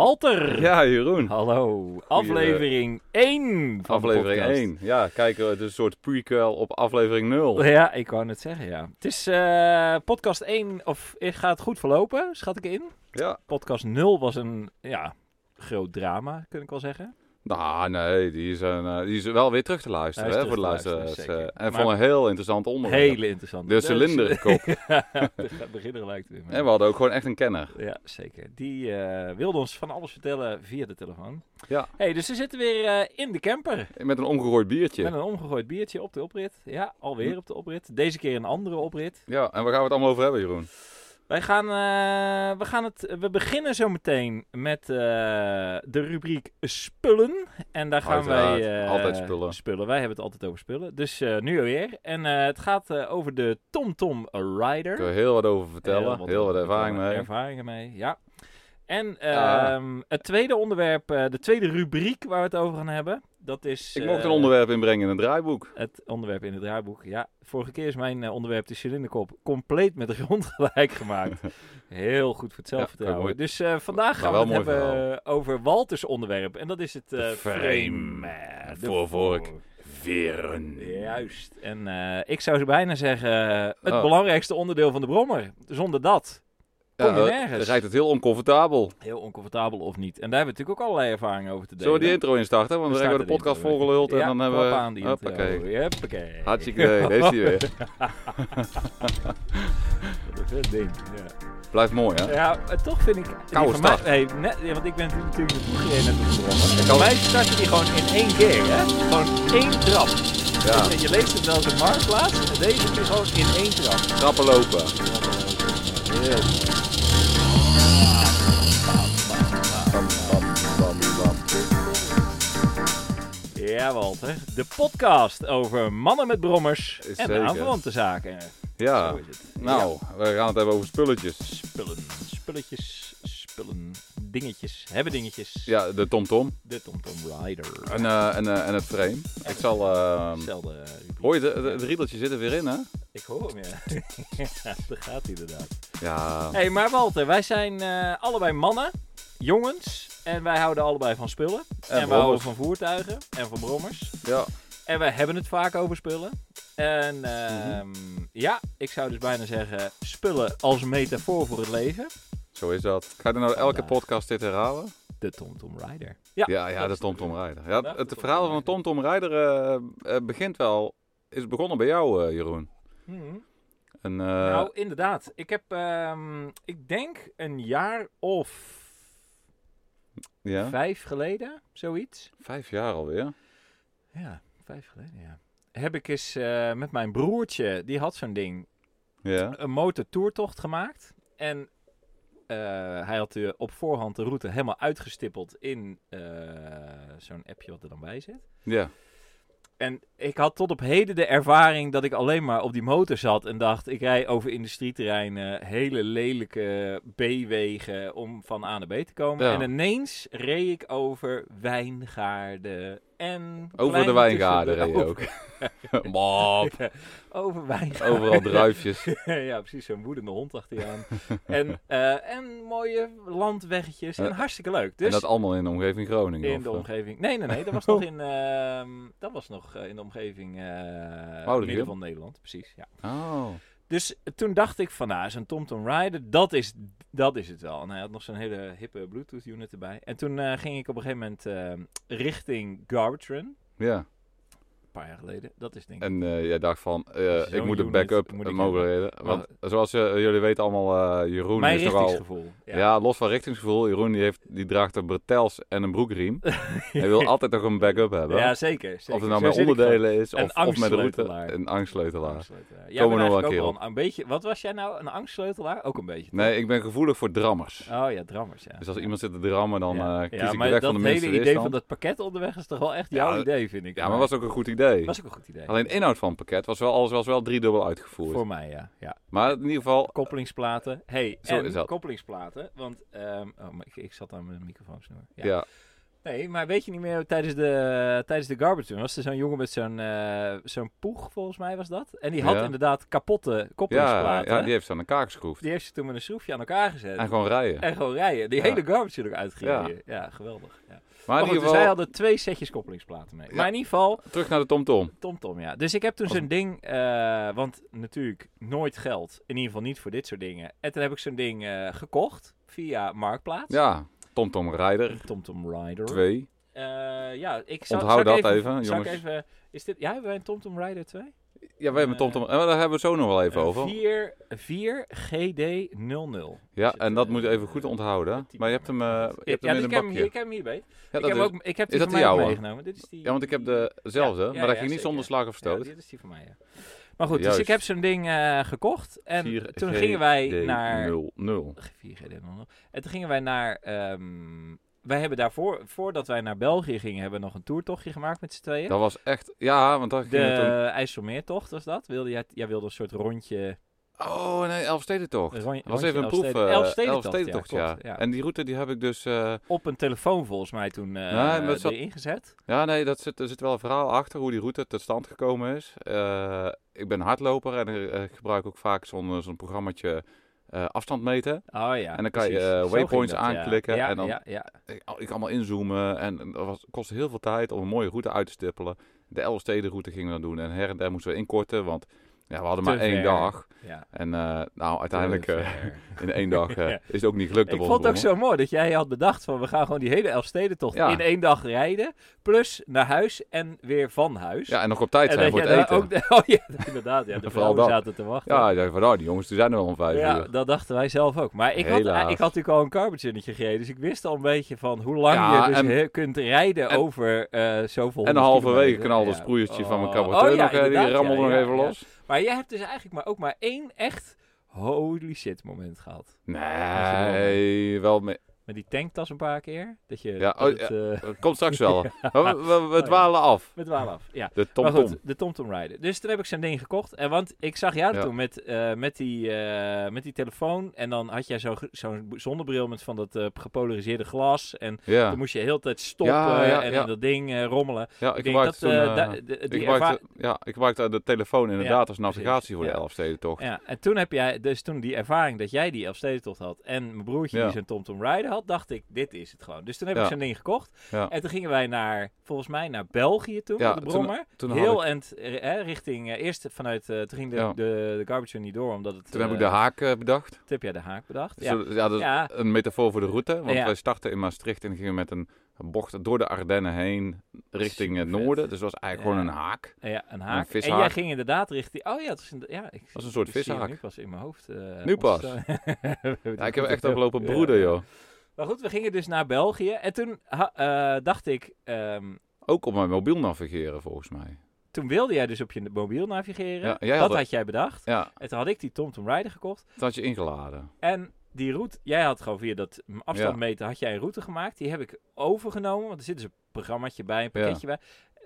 Walter! Ja, Jeroen. Hallo, aflevering 1 van aflevering de podcast. 1. Ja, kijk, eh, het is een soort prequel op aflevering 0. Ja, ik wou net zeggen, ja. Het is eh, podcast 1, of eh, gaat het goed verlopen, schat ik in. Ja. Podcast 0 was een, ja, groot drama, kun ik wel zeggen. Nou, nee, die is, een, eh, die is wel weer terug te luisteren Hij hè, is voor de terug te luisteraars. luisteren, eh, zeker. en Maar- voor een heel interessant onderwerp. Hele interessant. De cilinderkop. De beginner lijkt weer. En we hadden ook gewoon echt een kenner. Ja, zeker. Die eh, wilde ons van alles vertellen via de telefoon. Ja. hey, dus we zitten weer eh, in de camper. Met een omgegooid biertje. Met een omgegooid biertje op de oprit. Ja, Hm. alweer op de oprit. Deze keer een andere oprit. Ja, en waar gaan we het allemaal over hebben, Jeroen? Wij gaan, eh, we, gaan het, we beginnen zo meteen met eh, de rubriek spullen. En daar gaan Uiteraard, wij... eh, altijd spullen. Wij hebben het altijd over spullen. Dus eh, nu alweer. En eh, het gaat eh, over de TomTom Rider. Daar kunnen we heel wat over vertellen. Heel Heel wat wat, over ervaring vertellen. mee. Ervaringen mee, ja. En Ja. ehm, het tweede onderwerp, eh, de tweede rubriek waar we het over gaan hebben, dat is... Ik mocht eh, een onderwerp inbrengen in een draaiboek. Het onderwerp in het draaiboek, ja. Vorige keer is mijn eh, onderwerp, de cilinderkop, compleet met de grond gelijk gemaakt. Heel goed voor het Ja, zelfvertrouwen. mooi. dus eh, vandaag Maar gaan we het wel hebben eh, mooi over Walters onderwerp. En dat is het eh, De frame. eh, De voorvork. Veren. Juist. En eh, ik zou bijna zeggen, eh, het Oh. belangrijkste onderdeel van de brommer. Zonder dat. Kom je eh, nergens. Dan rijdt het heel oncomfortabel. heel oncomfortabel of niet. En daar hebben we natuurlijk ook allerlei ervaringen over te delen. Zullen we die intro instarten? Want dan hebben we de podcast volgeluld en Ja, dan hebben klap we... aan die intro. Hoppakee. Huppakee. Hartstikke idee, deze is die weer. Wat een vet ding, ja. Blijft mooi, hè? Ja, maar toch vind ik... die Koude van mij- start. Nee, net- ja, want ik ben natuurlijk natuurlijk naartoe gereden en naartoe gereden. En Koude- wij starten die gewoon in één keer, hè. Gewoon één trap. Ja. Dus je leest het wel als een marktplaats. en Deze is gewoon in één trap. Trappen lopen. Heel Bam, bam, bam, bam. Ja, Walter. De podcast over mannen met brommers Is en zeker. aanverwante zaken. Zo Ja, is het. nou, we gaan het hebben over spulletjes. Spullen, spulletjes, spullen, dingetjes, hebben dingetjes. Ja, de TomTom De TomTom Rider. en, eh, en, eh, en het frame. Ik zal... eh, Hetzelfde rubriek. hoor je, de- de- het riedeltje zit er weer in, hè? Ik hoor hem, ja. ja daar gaat hij inderdaad. Ja, hey, maar Walter, wij zijn eh, allebei mannen, jongens. En wij houden allebei van spullen. En, we brommers. houden van voertuigen en van brommers. ja. En wij hebben het vaak over spullen. En ehm, ja, ik zou dus bijna zeggen spullen als metafoor voor het leven. Zo is dat. Ga je nou elke Vandaag. podcast dit herhalen? De TomTom Rider. Ja, ja, de is- TomTom Rijder. Vandaag Ja, de het TomTom verhaal van TomTom Rijder eh, eh, begint wel... Is begonnen bij jou, eh, Jeroen. Mhm. En, eh, nou, inderdaad. Ik heb, ehm, ik denk een jaar of ja. vijf geleden, zoiets. Vijf jaar alweer. Ja, vijf geleden, ja. Heb ik eens eh, met mijn broertje, die had zo'n ding, Ja. een motortoertocht gemaakt. En eh, hij had eh, op voorhand de route helemaal uitgestippeld in eh, zo'n appje wat er dan bij zit. Ja. En ik had tot op heden de ervaring dat ik alleen maar op die motor zat en dacht, ik rij over industrieterreinen, hele lelijke B-wegen om van A naar B te komen. Ja. En ineens reed ik over wijngaarden en... Over klein de wijngaarden reed tussen je de- ook. Mop. Over wijngaarden. Overal druifjes. ja, precies, zo'n woedende hond achter je aan. en, eh, en mooie landweggetjes en Eh, hartstikke leuk. En Dus dat allemaal in de omgeving Groningen. in de of, eh, omgeving. Nee, nee, nee. Dat was nog in, ehm, dat was nog eh, in de omgeving eh Woudrichem? midden van Nederland. Precies, ja. Oh. Dus toen dacht ik van, nou, zo'n TomTom Rider, dat is, dat is het wel. En hij had nog zo'n hele hippe Bluetooth unit erbij. En toen eh, ging ik op een gegeven moment eh, richting Garbage Run. Een Ja. paar jaar geleden. Dat is denk ik. En eh, jij dacht van, eh, ik Zo'n moet een unit backup moet eh, ik mogelijkheden. Want zoals eh, jullie weten allemaal, eh, Jeroen Mijn is nogal... richtingsgevoel. Ja. los van richtingsgevoel. Jeroen die heeft, die draagt een bretels en een broekriem. Hij wil altijd nog een backup hebben. Ja, zeker. zeker. of het nou Zo met zit ik gewoon. onderdelen is, Een of, of met route. angstsleutelaar. Een angstsleutelaar. Angstleutelaar. Jij Komen bent we nog wel eigenlijk een keer ook op. wel een, een beetje... Wat was jij nou? Een angstsleutelaar? Ook een beetje. Nee, ik ben gevoelig voor drammers. Oh ja, drammers, ja. Dus als iemand zit te drammen, dan Ja. eh, kies Ja, ik maar weg dat van de hele minste idee van weerstand. dat pakket onderweg is toch wel echt Ja, jouw dat- idee, vind ik. Ja, maar was ook een goed idee. was ook een goed idee. Alleen de inhoud van het pakket was wel, alles was wel driedubbel uitgevoerd. Voor mij, ja. ja. Maar in ieder geval, Koppelingsplaten. hey, Zo en is dat. koppelingsplaten. Want ehm, oh, maar ik, ik zat aan mijn microfoonsnoer. Ja. ja. Nee, maar weet je niet meer, tijdens de, tijdens de garbage run was er zo'n jongen met zo'n eh, zo'n poeg, volgens mij was dat. En die had Ja. inderdaad kapotte Ja, koppelingsplaten. ja, die... die heeft ze aan elkaar geschroefd. heeft ze toen met een schroefje aan elkaar gezet. En gewoon rijden. En gewoon rijden. Die Ja. hele garbage run ook uitging Ja. hier. Ja, geweldig. Ja. Maar in Maar goed, ieder dus wij geval, hadden twee setjes koppelingsplaten mee. Ja. Maar in ieder geval, terug naar de TomTom. TomTom, ja. Dus ik heb toen Als- zo'n ding, eh, want natuurlijk nooit geld. In ieder geval niet voor dit soort dingen. En toen heb ik zo'n ding eh, gekocht via Marktplaats. Ja, TomTom Rijder Een TomTom Rider. 2. Eh, ja, ik zal, Onthoud zal ik dat even, zal ik jongens. even- is dit, ja, hebben wij een TomTom Rider Eh, 2? Ja, we hebben Eh, TomTom... en Daar hebben we het zo nog wel even Een over. 4, 4GD00. Ja, zit, en dat eh, moet je even goed onthouden. type Maar je hebt hem, eh, je hebt ja, dus hem ik, in een heb hem hier, bakje. ik heb hem hierbij. Ja, ik, heb dat is- ook, ik heb is die dat van mij die ook oude? meegenomen. Dit is die, Ja, want ik heb dezelfde, Ja, maar ja, dat ja, ging niet zeker. zonder slag of Ja, stoot. dit is die van mij, ja. Maar goed, Juist. dus ik heb zo'n ding eh, gekocht. En 4 toen gingen wij GD naar... 0, 0. 4GD dan nog. En toen gingen wij naar... ehm, wij hebben daarvoor, voordat wij naar België gingen, hebben we nog een toertochtje gemaakt met z'n tweeën. Dat was echt... Ja, want daar ging het om... De IJsselmeertocht was dat. Wilde jij, jij wilde een soort rondje... Oh, nee, Elfstedentocht. Een Dat rondje- was rondje even een Elfsteden- proef. eh, Elfstedentocht, ja, Elfstedentocht, ja. klopt, ja. En die route die heb ik dus... eh, Op een telefoon volgens mij toen eh Ja, Nou, maar het zat- erin gezet. Ja, nee, dat zit, er zit wel een verhaal achter hoe die route tot stand gekomen is. Eh, ik ben hardloper en eh, ik gebruik ook vaak zo'n zo'n programmaatje eh, afstand meten. Oh ja. En dan kan je, precies. eh, Zo waypoints ging dat, ja. aanklikken Ja, en dan- ja, ja. Ik, ik allemaal inzoomen en, en dat was, kostte heel veel tijd om een mooie route uit te stippelen. De Elfstedenroute gingen we dan doen en her en der moesten we inkorten, want ja, we hadden Te maar één ver. dag. ja. En eh, nou, uiteindelijk eh, Ver. in één dag eh, Ja. is het ook niet gelukt. Ik op vond het ook Bosbrommel. zo mooi dat jij had bedacht van we gaan gewoon die hele Elfstedentocht Ja. in één dag rijden. Plus naar huis en weer van huis. Ja, en nog op tijd en zijn voor dat het jij daar eten. ook... Oh ja, inderdaad. Ja, de Vooral vrouwen dat. zaten te wachten. Ja, ik dacht van, nou, die jongens die zijn er al om vijf Ja, uur. dat dachten wij zelf ook. Maar ik had, ik Helaas. had natuurlijk al een carbuntje gereden, dus ik wist al een beetje van hoe lang Ja, je dus en- he- kunt rijden en- over eh zoveel honderd En halverwege kilometer. knalde Ja. het sproeiertje van mijn Oh, caboteur oh ja, nog, eh, die inderdaad, rammelde ja, nog ja, even ja. los. Maar jij hebt dus eigenlijk maar ook maar één echt holy shit moment gehad. Nee, wel mee. Met die tanktas een paar keer. Dat je... Ja, dat oh, het, eh, Het Komt straks wel. Maar We, we, we Oh, ja. dwalen af. met waar af. Ja. De maar TomTom. goed, de TomTom Rider. Dus toen heb ik zijn ding gekocht. En want ik zag jou Ja. toen met, eh, met, die, eh, met die telefoon. En dan had jij zo'n ge- zo'n zonnebril met van dat eh, gepolariseerde glas. En Ja, dan moest je de hele tijd stoppen Ja, ja, en ja. in dat ding eh, rommelen. ja Ik ik denk dat gebruikte toen, eh, eh, da- de- die ik erva- gebruikte- ja, ik gebruikte de telefoon inderdaad als precies, navigatie voor ja. de Elfstedentocht. Ja, en toen heb jij dus toen die ervaring dat jij die Elfstedentocht had en mijn broertje Ja. die zijn TomTom Rider had, dacht ik, dit is het gewoon. Dus toen heb ik Ja. zo'n ding gekocht. Ja. En toen gingen wij naar, volgens mij, naar België toen, Ja, met de toen- Brommer. Toen, had Heel ik, end, eh, hè, richting, eh, eerst vanuit, eh, toen ging de, Ja. de, de garbage er niet door, omdat het... toen heb ik eh, de haak eh, bedacht. Tip jij de haak bedacht? Dus, eh, Ja, ja. dat is ja, een metafoor voor de route. Want Ja. wij startten in Maastricht en gingen met een bocht door de Ardennen heen richting het Supervet. noorden. Dus dat was eigenlijk Ja. gewoon een haak. ja, een haak. en vishaak. jij ging inderdaad richting... Oh ja, het was een, ja, ik, was een soort ik zie hem vishaak. nu pas in mijn hoofd. eh, Nu pas. ontstaan. We hebben dit Ja, ik heb goed echt overlopen Ja. broeder, joh. Maar goed, we gingen dus naar België. En toen ha- eh, dacht ik, ehm, Ook op mijn mobiel navigeren, volgens mij. toen wilde jij dus op je mobiel navigeren. Ja, jij had dat dat. had jij bedacht. Ja, En toen had ik die TomTom Rider gekocht. dat had je ingeladen. En die route, jij had gewoon via dat m, afstandmeten, had jij een route gemaakt. Die heb ik overgenomen, want er zit dus een programmaatje bij, een Ja. pakketje bij.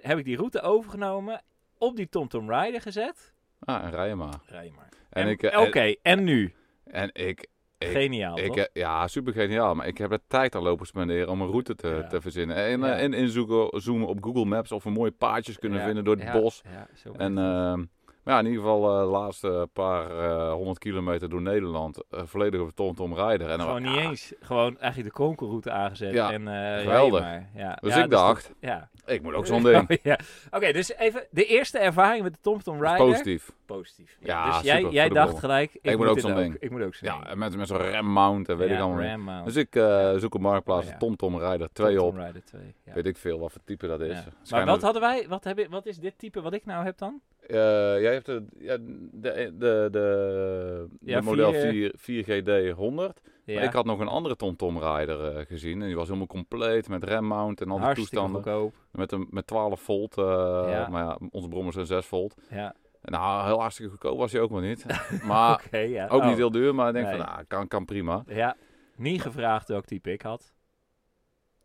Heb ik die route overgenomen, op die TomTom Rider gezet. Ah, en rijden maar. Rij maar. En, ik, eh, Oké, en nu? en ik, Ik- Geniaal, ik toch? eh, ja, super geniaal. Maar ik heb er tijd aan lopen spenderen om een route te, Ja. te verzinnen. En, eh, Ja. en inzoeken, zoomen op Google Maps of we mooie paadjes kunnen Ja, vinden door het ja, bos. ja, zo En werkt het. eh, maar ja, in ieder geval eh, de laatste paar eh, honderd kilometer door Nederland eh, volledig op TomTom rijden. En dan- gewoon niet ah, eens, gewoon eigenlijk de konkelroute aangezet. Ja, en, eh, rij geweldig. maar. Ja, Dus ja, ik dacht, dat- ja. ik moet ook zo'n ding. Oh, ja. Oké, dus even de eerste ervaring met de TomTom Dat is Rider. positief. Positief. Ja, dus super, jij, voor jij de dacht bomen. gelijk, ik, moet ook dit zo'n ding. Ik moet ook zo'n Ja, ding. en met, met zo'n remmount en weet ik allemaal niet. Dus Dus ik eh, zoek op Marktplaats Ja. TomTom rijden 2 op. Rider 2. Ja. Weet ik veel wat voor type dat is. Ja. Maar Schijnbaar- wat hadden wij, wat, heb ik, wat is dit type wat ik nou heb dan? Eh, jij hebt de, ja, de, de, de, Ja, de model vier- 4, 4GD 100. Ja, Maar ik had nog een andere TomTom Rider eh, gezien. En die was helemaal compleet met remmount en al die hartstikke toestanden. goedkoop. Met, een, met 12 volt. eh, Ja. Maar ja, onze brommers zijn 6 volt. Ja, En Nou, heel hartstikke goedkoop was hij ook wel niet. Maar oké. ja. Ah, ook Oh. niet heel duur. Maar ik denk Nee. van, nou, kan, kan prima. Ja, niet gevraagd welk type ik had.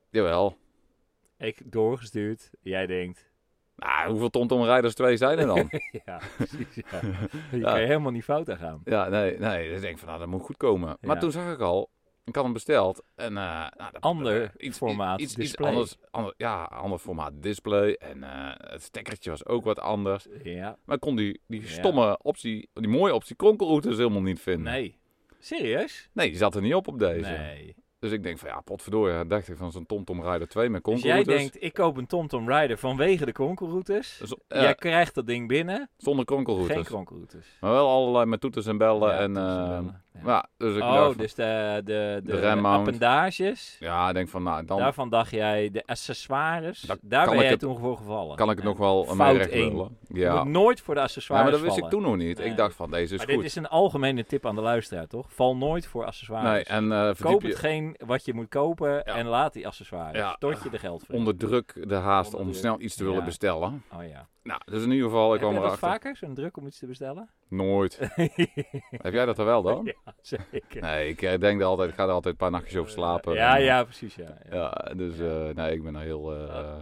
Jawel. Ik doorgestuurd, jij denkt. Nou, hoeveel TomTom Riders 2 zijn er dan? Ja, precies. Ja. Je Ja. kan helemaal niet fout aan gaan. ja, nee, nee. Dus ik denk van, nou, dat moet goed komen. Maar Ja. toen zag ik al, Ik had hem besteld. En, eh, nou, dat- Ander eh, iets, formaat iets, iets display. anders, ander, ja, ander formaat display. En eh, het stekkertje was ook wat anders. Ja. Maar ik kon die, die Ja. stomme optie, die mooie optie kronkelroutes helemaal niet vinden. Nee. Serieus? Nee, die zat er niet op op deze. Nee. Dus ik denk van ja, potverdorie. Dan dacht ik van zo'n TomTom Rider 2 met Dus jij kronkelroutes. denkt, ik koop een TomTom Rider vanwege de kronkelroutes. Z- eh, Jij krijgt dat ding binnen, Zonder kronkelroutes. geen kronkelroutes. maar wel allerlei met toeters en bellen. Ja, en, toetsen eh, bellen. Ja. ja, dus ik dacht Oh, van- dus de, de, de, De remhound. appendages, Ja, ik denk van nou, dan daarvan dacht jij de accessoires, Daar daar kan ben ik jij het- toen voor gevallen. kan ik het En nog wel aan fout mij recht één. lullen. je Ja. moet nooit voor de Ja, accessoires maar dat wist ik vallen. toen nog niet. Nee. Ik dacht van deze is maar goed. dit is een algemene tip aan de luisteraar, toch? Val nooit voor accessoires. nee, en eh verdiep Koop je hetgeen wat je moet kopen en laat die accessoires. Ja. Tot je de geld verdient. onder druk de haast Onder om druk. snel iets te Ja. willen bestellen. Oh ja. Nou, dus in ieder geval, ik Heb je kwam dat erachter. vaker, zo'n druk om iets te bestellen? Nooit. Heb jij dat er wel dan? ja, zeker. Nee, ik eh, denk er altijd, ik ga er altijd een paar nachtjes over slapen. Ja, En, eh, ja, precies. Ja, ja. Ja, dus eh, nee, ik ben er heel, eh,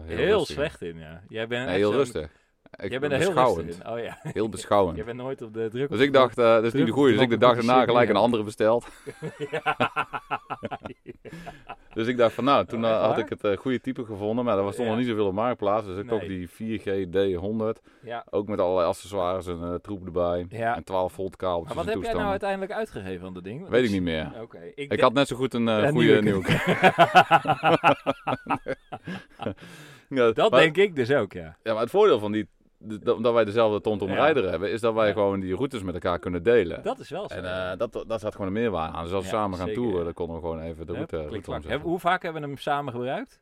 heel heel, rustig in. slecht in, ja. Jij bent Nee, echt heel zo'n- rustig. Ik Jij bent er heel beschouwend. rustig in. Oh ja, Heel beschouwend. jij bent nooit op de druk. Dus ik dacht, eh dat is niet de Druk goede. Dus knop ik de dag moet je daarna shit gelijk een in. andere besteld. Dus ik dacht van nou, toen Oh, echt eh, had waar? ik het eh, goede type gevonden. Maar er was toch Ja. nog niet zoveel op Marktplaats. Dus ik Nee. kocht die 4G D100. Ja. Ook met allerlei accessoires en eh, troep erbij. Ja. En 12 volt kabels Maar en wat heb jij toestanden. nou uiteindelijk uitgegeven aan dat ding? Want Weet ik niet meer. Oké. Ik, Ik denk- had net zo goed een eh, Ja, goede nieuwe- nieuwe. Ja, Dat maar, denk ik dus ook, ja. Ja, maar het voordeel van die, de- dat, dat wij dezelfde TomTom Ja. Rijder hebben, is dat wij Ja. gewoon die routes met elkaar kunnen delen. Dat is wel zo. En eh, dat, dat zat gewoon een meerwaarde aan. Dus als we Ja, samen gaan zeker, toeren, ja. dan konden we gewoon even de Hup, route, klik, route klak. omzetten. Heb- Hoe vaak hebben we hem samen gebruikt?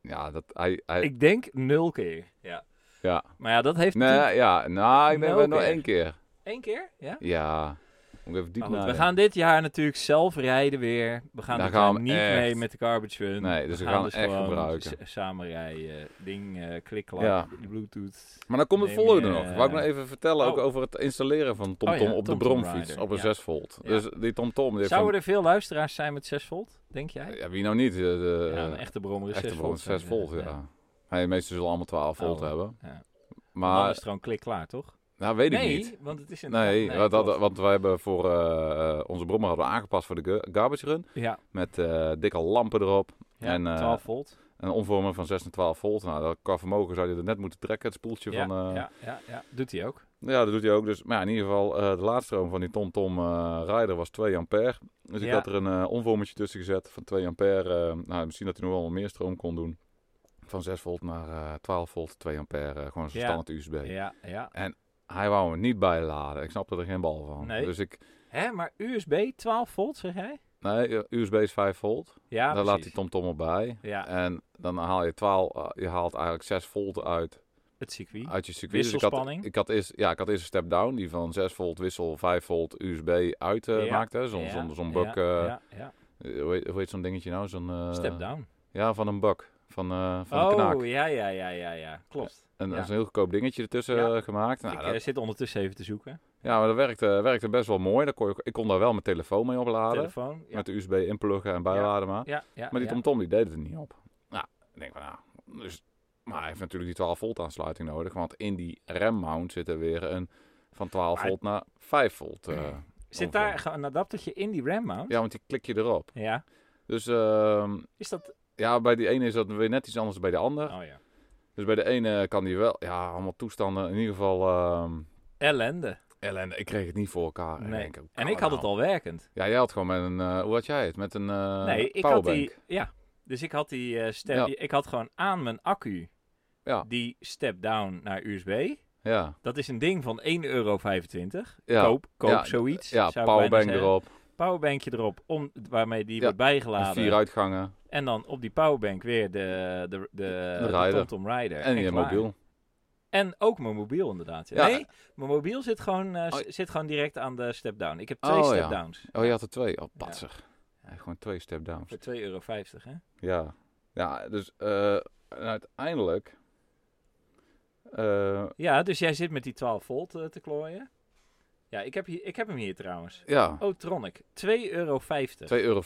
Ja, dat, hij, hij, Ik denk nul keer. Eh, Ja. Ja. Maar ja, dat heeft nee, ja, nou, ik denk Nul wel nog keer. één keer. één keer. Ja? Ja, moet ik Maar even diep goed, we nadenken. gaan dit jaar natuurlijk zelf rijden weer. We gaan Daar dit gaan jaar we niet echt- mee met de Garbage Fund. Nee, dus we gaan dus echt gewoon gebruiken. s- samen rijden. Ding, eh klikklak, Ja. bluetooth. Maar dan komt het Neem volgende je- nog. Wou ik nog even vertellen ook Oh. over het installeren van TomTom Oh ja, op de TomTom bromfiets Rider, op een ja. 6 volt. Ja. Dus die TomTom... Die heeft Zouden er veel luisteraars zijn met 6 volt, denk jij? van- ja, wie nou niet? eh, De, ja, een echte brommer is echte 6 bron- volt. eh, 6 volt, ja. Maar Hey, de meesten zullen allemaal 12 volt Oh, hebben. ja. Dan Maar, is het gewoon klik klaar, toch? nou weet ik nee, niet. want het is een... Nee, want, dat- klopt. want wij hebben voor eh, eh, onze brommer hadden we aangepast voor de ga- garbage run. Ja, Met eh, dikke lampen erop. ja En, eh, 12 volt. Een omvormer van 6 en 12 volt. Nou, dat, qua vermogen zou je er net moeten trekken, het spoeltje Ja, van... eh, ja, ja, ja, doet hij ook. Ja, dat doet hij ook. Dus, maar ja, in ieder geval, eh, de laadstroom van die TomTom eh Rider was 2 ampère. Dus ik Ja. had er een eh omvormertje tussen gezet van 2 ampère. eh, nou, misschien dat hij nog wel wat meer stroom kon doen. Van 6 volt naar eh 12 volt, 2 ampère. eh, gewoon zo'n Ja. standaard USB. Ja, ja. Hij wou me niet bijladen. Ik snapte er geen bal van. Nee. Dus ik... Hè, maar USB 12 volt, zeg jij? Nee, eh, USB is 5 volt. Ja, Daar laat die precies. TomTom op bij. Ja, En dan haal je 12... eh, je haalt eigenlijk 6 volt uit, het circuit. eh, uit je circuit. Dus ik had- Wisselspanning. Ik had eerst, ja, ik had eerst een step down die van 6 volt wissel 5 volt USB uit eh Ja, maakte. Zo'n Ja, zo'n zo'n ja, bak. eh, ja, ja. eh, hoe, heet, hoe heet zo'n dingetje nou? Zo'n eh, Step down. Ja, van een bak. Van, eh, van een knaak. Oh, ja, ja, ja, ja, ja. Klopt. En dat ja. is een heel goedkoop dingetje ertussen Ja. eh, gemaakt. Nou, ik dat- eh, zit ondertussen even te zoeken. ja, maar dat werkte, werkte best wel mooi. Daar kon je, ik kon daar wel mijn telefoon mee opladen. Telefoon. Ja, Met de USB inpluggen en bijladen maar. ja, ja. Maar ja. die TomTom die deed het er niet op. Nou, ik denk van nou... Dus, maar hij heeft natuurlijk die 12 volt aansluiting nodig. Want in die remmount zit er weer een van 12 Maar- volt naar 5 volt. eh, Zit daar ge- een adaptertje in die RAM mount? Ja, want die klik je erop. Ja. Dus ehm, Is dat... ja, bij die ene is dat weer net iets anders dan bij de ander. Oh ja. Dus bij de ene kan die wel, ja, allemaal toestanden. In ieder geval, ehm Ellende. Ellen, ik kreeg het niet voor elkaar. Nee. denk, hoe En kan ik had het nou? al werkend. Ja, jij had gewoon met een, eh, hoe had jij het? Met een eh nee, ik had powerbank. die... Ja. Dus ik had die eh, step... Ja. Ik had gewoon aan mijn accu Ja. die step down naar USB. Ja, Dat is een ding van 1,25 euro. ja. Koop, koop Ja, zoiets. ja, zou ik bijna powerbank zeggen. erop. Powerbankje erop, om, waarmee die Ja, wordt en bijgeladen. Vier uitgangen. En dan op die powerbank weer de, de, de, de rider. TomTom Rider. En je klaar. mobiel. En ook mijn mobiel inderdaad. Ja. Nee, mijn mobiel zit gewoon, eh, Oh. s- zit gewoon direct aan de step-down. Ik heb twee Oh, ja. step-downs. Oh, je had er twee. Oh, patser. Ja, gewoon twee step-downs. Voor 2,50 euro, hè? Ja, ja dus eh, en uiteindelijk... eh, Ja, dus jij zit met die 12 volt eh, te klooien. Ja, ik heb, hier, ik heb hem hier trouwens. ja, Oh, Tronic. 2,50 euro. 2,50 euro.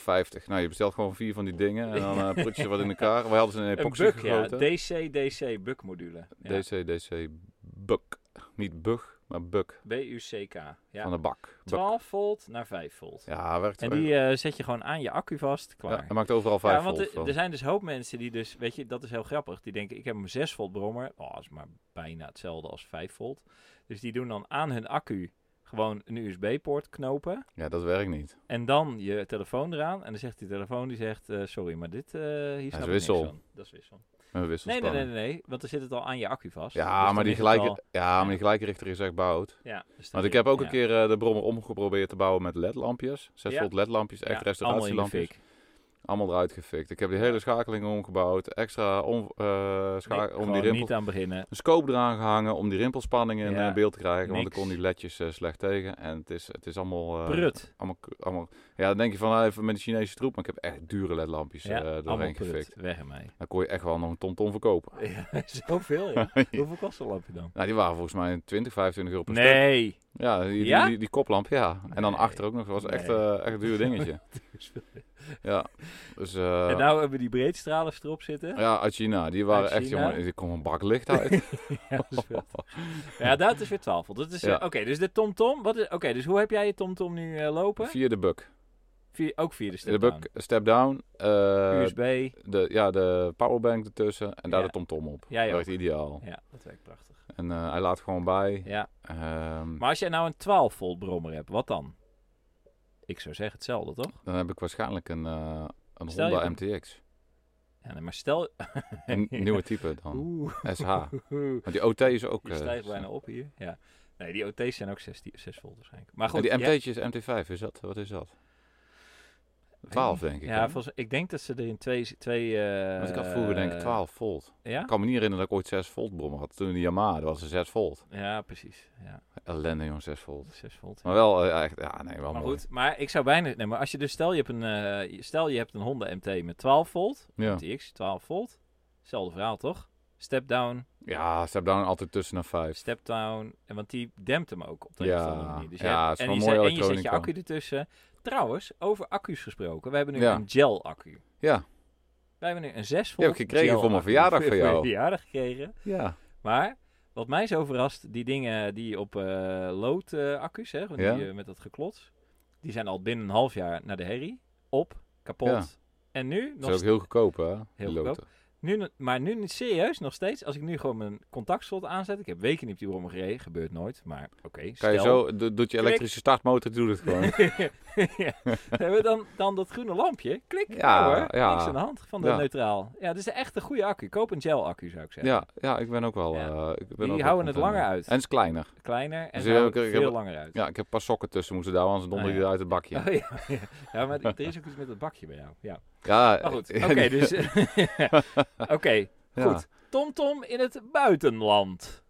Nou, je bestelt gewoon vier van die dingen en dan eh prut je wat in elkaar. Wij hadden ze een Een epoxy bug, ja. gegoten. DC, DC, bug module. Ja. DC, DC, Buk. Niet Bug, maar Buck B-U-C-K. Ja. van de bak. Buck. 12 volt naar 5 volt. Ja, werkt En wel. die eh, zet je gewoon aan je accu vast, Ja, klaar. hij maakt overal 5 want volt er- van. er zijn dus hoop mensen die dus, weet je, dat is heel grappig. Die denken, ik heb een 6 volt brommer. Oh, dat is maar bijna hetzelfde als 5 volt. Dus die doen dan aan hun accu gewoon een USB-poort knopen. Ja, dat werkt niet. En dan je telefoon eraan. En dan zegt die telefoon, die zegt, eh, sorry, maar dit, eh hier snap ik niks wissel. van. Dat is wissel. Een Nee, nee, wisselspanning. nee, nee, nee, want er zit het al aan je accu vast. Dus Ja, dan maar die is het al- gelijke, ja, maar die gelijke richter is echt bout. ja, dus dan Want ik zit- heb ook ja. een keer eh, de brommer omgeprobeerd te bouwen met ledlampjes. 6 Ja. volt ledlampjes, echt Ja, allemaal in de restauratielampjes. fik. Allemaal eruit gefikt. Ik heb die hele schakeling omgebouwd. Extra om, eh, scha- Nee, om gewoon die rimpel... Eh, niet aan beginnen. Een scope eraan gehangen om die rimpelspanningen in Ja, eh, beeld te krijgen. Want ik niks. kon die ledjes eh, slecht tegen. En het is, het is allemaal... eh, Prut. allemaal, k- allemaal... Ja, dan denk je van ah, even met de Chinese troep. Maar ik heb echt dure ledlampjes eh Ja, allemaal doorheen prut. gefikt. Weg ermee. Dan kon je echt wel nog een tomtom verkopen. Ja, zoveel. ja. Hoeveel kost een lampje dan? Nou, die waren volgens mij 20, 25 euro per stuk. Nee. Ja, die, die- Ja? Die, die koplamp, ja. En dan Nee. achter ook nog. Dat was echt, Nee. eh, echt een duur dingetje. ja. Dus, eh, en nou hebben we die breedstralers erop zitten. ja, uit China. Die waren Uit echt, China? jongen, er kwam een bak licht uit. Ja, Eh, dat is veel. ja, dat is weer 12 volt. Dat is, eh, Ja. Oké, dus de TomTom. wat is- Oké, dus hoe heb jij je TomTom nu eh, lopen? Via de buk. Vier, ook via de De step buk, step down. eh, USB. de, ja, de powerbank ertussen. En daar Ja. de tomtom op. Ja, ja. Werkt ideaal. Ja, dat werkt prachtig. En eh, hij laat gewoon bij. Ja. Ehm, Maar als jij nou een 12 volt brommer hebt, wat dan? Ik zou zeggen hetzelfde, toch? dan heb ik waarschijnlijk een, eh, een Stel je Honda komt- MTX. Ja, nee, maar stel... Een nieuwe type dan. Oeh, SH. Want die OT is ook... je eh, stijgt bijna op hier. Ja. Nee, die OT's zijn ook 6, 6 volt waarschijnlijk. Maar en goed, die jij- MT'tjes, MT5, is dat? Wat is dat? 12 denk ik. Ja, hè? volgens, ik denk dat ze er in twee... twee eh, Want ik had vroeger denk ik 12 volt. Ja? Ik kan me niet herinneren dat ik ooit 6 volt brommer had. Toen die Yamaha, dat was een 6 volt. Ja, precies. Ja, Ellende jong, 6 volt. 6 volt. Maar wel eh, echt, ja nee, wel maar mooi. goed, maar ik zou bijna... Nee, maar als je dus... Stel je hebt een, eh, je- stel je hebt een Honda MT met 12 volt. Ja. MTX, 12 volt. Hetzelfde verhaal, toch? Step down, ja, step down altijd tussen naar 5. step down. En want die dempt hem ook op de Ja, een of andere manier. Dus je ja, hebt- het is en, wel je mooi zet, en je zet je elektronica. accu ertussen. Trouwens, over accu's gesproken. We hebben nu Ja. een gel accu. Ja, Wij hebben nu een 6 Die volt heb ik gekregen voor mijn gel-accu. verjaardag van jou. Voor je verjaardag gekregen. ja. Maar wat mij zo verrast, die dingen die op eh lood-accu's, hè, want Ja. die, eh, met dat geklots, die zijn al binnen een half jaar naar de herrie. Op, kapot. Ja. En nu, Dat nog is ook heel goedkoop hè, die goedkoop. loten. nu, no- maar nu niet serieus, nog steeds. Als ik nu gewoon mijn contactslot aanzet, ik heb weken niet op die brommer gereden, gebeurt nooit, maar oké. Kan stel- je zo, do- doet je Klik. elektrische startmotor, doet het gewoon. ja. Hebben we dan, dan dat groene lampje? Klik, Ja, ja, hoor, ja. niks aan de hand van de Ja. neutraal. Ja, dit is echt een goede accu. Koop een gel-accu, zou ik zeggen. ja, ja, ik ben ook wel... Ja. eh, ik ben Die ook wel houden het content. langer uit. En het is kleiner. Kleiner en Dus ze ik heb ook- ik heb veel ook- langer uit. Ja, ik heb een paar sokken tussen moeten douwen, anders donder Ah, die ja. eruit het bakje. Oh, ja. ja. ja, maar er is ook iets met het bakje bij jou. Ja. Ja, Maar goed, ja, oké, dus... oké, Eh, ja. goed. TomTom in het buitenland.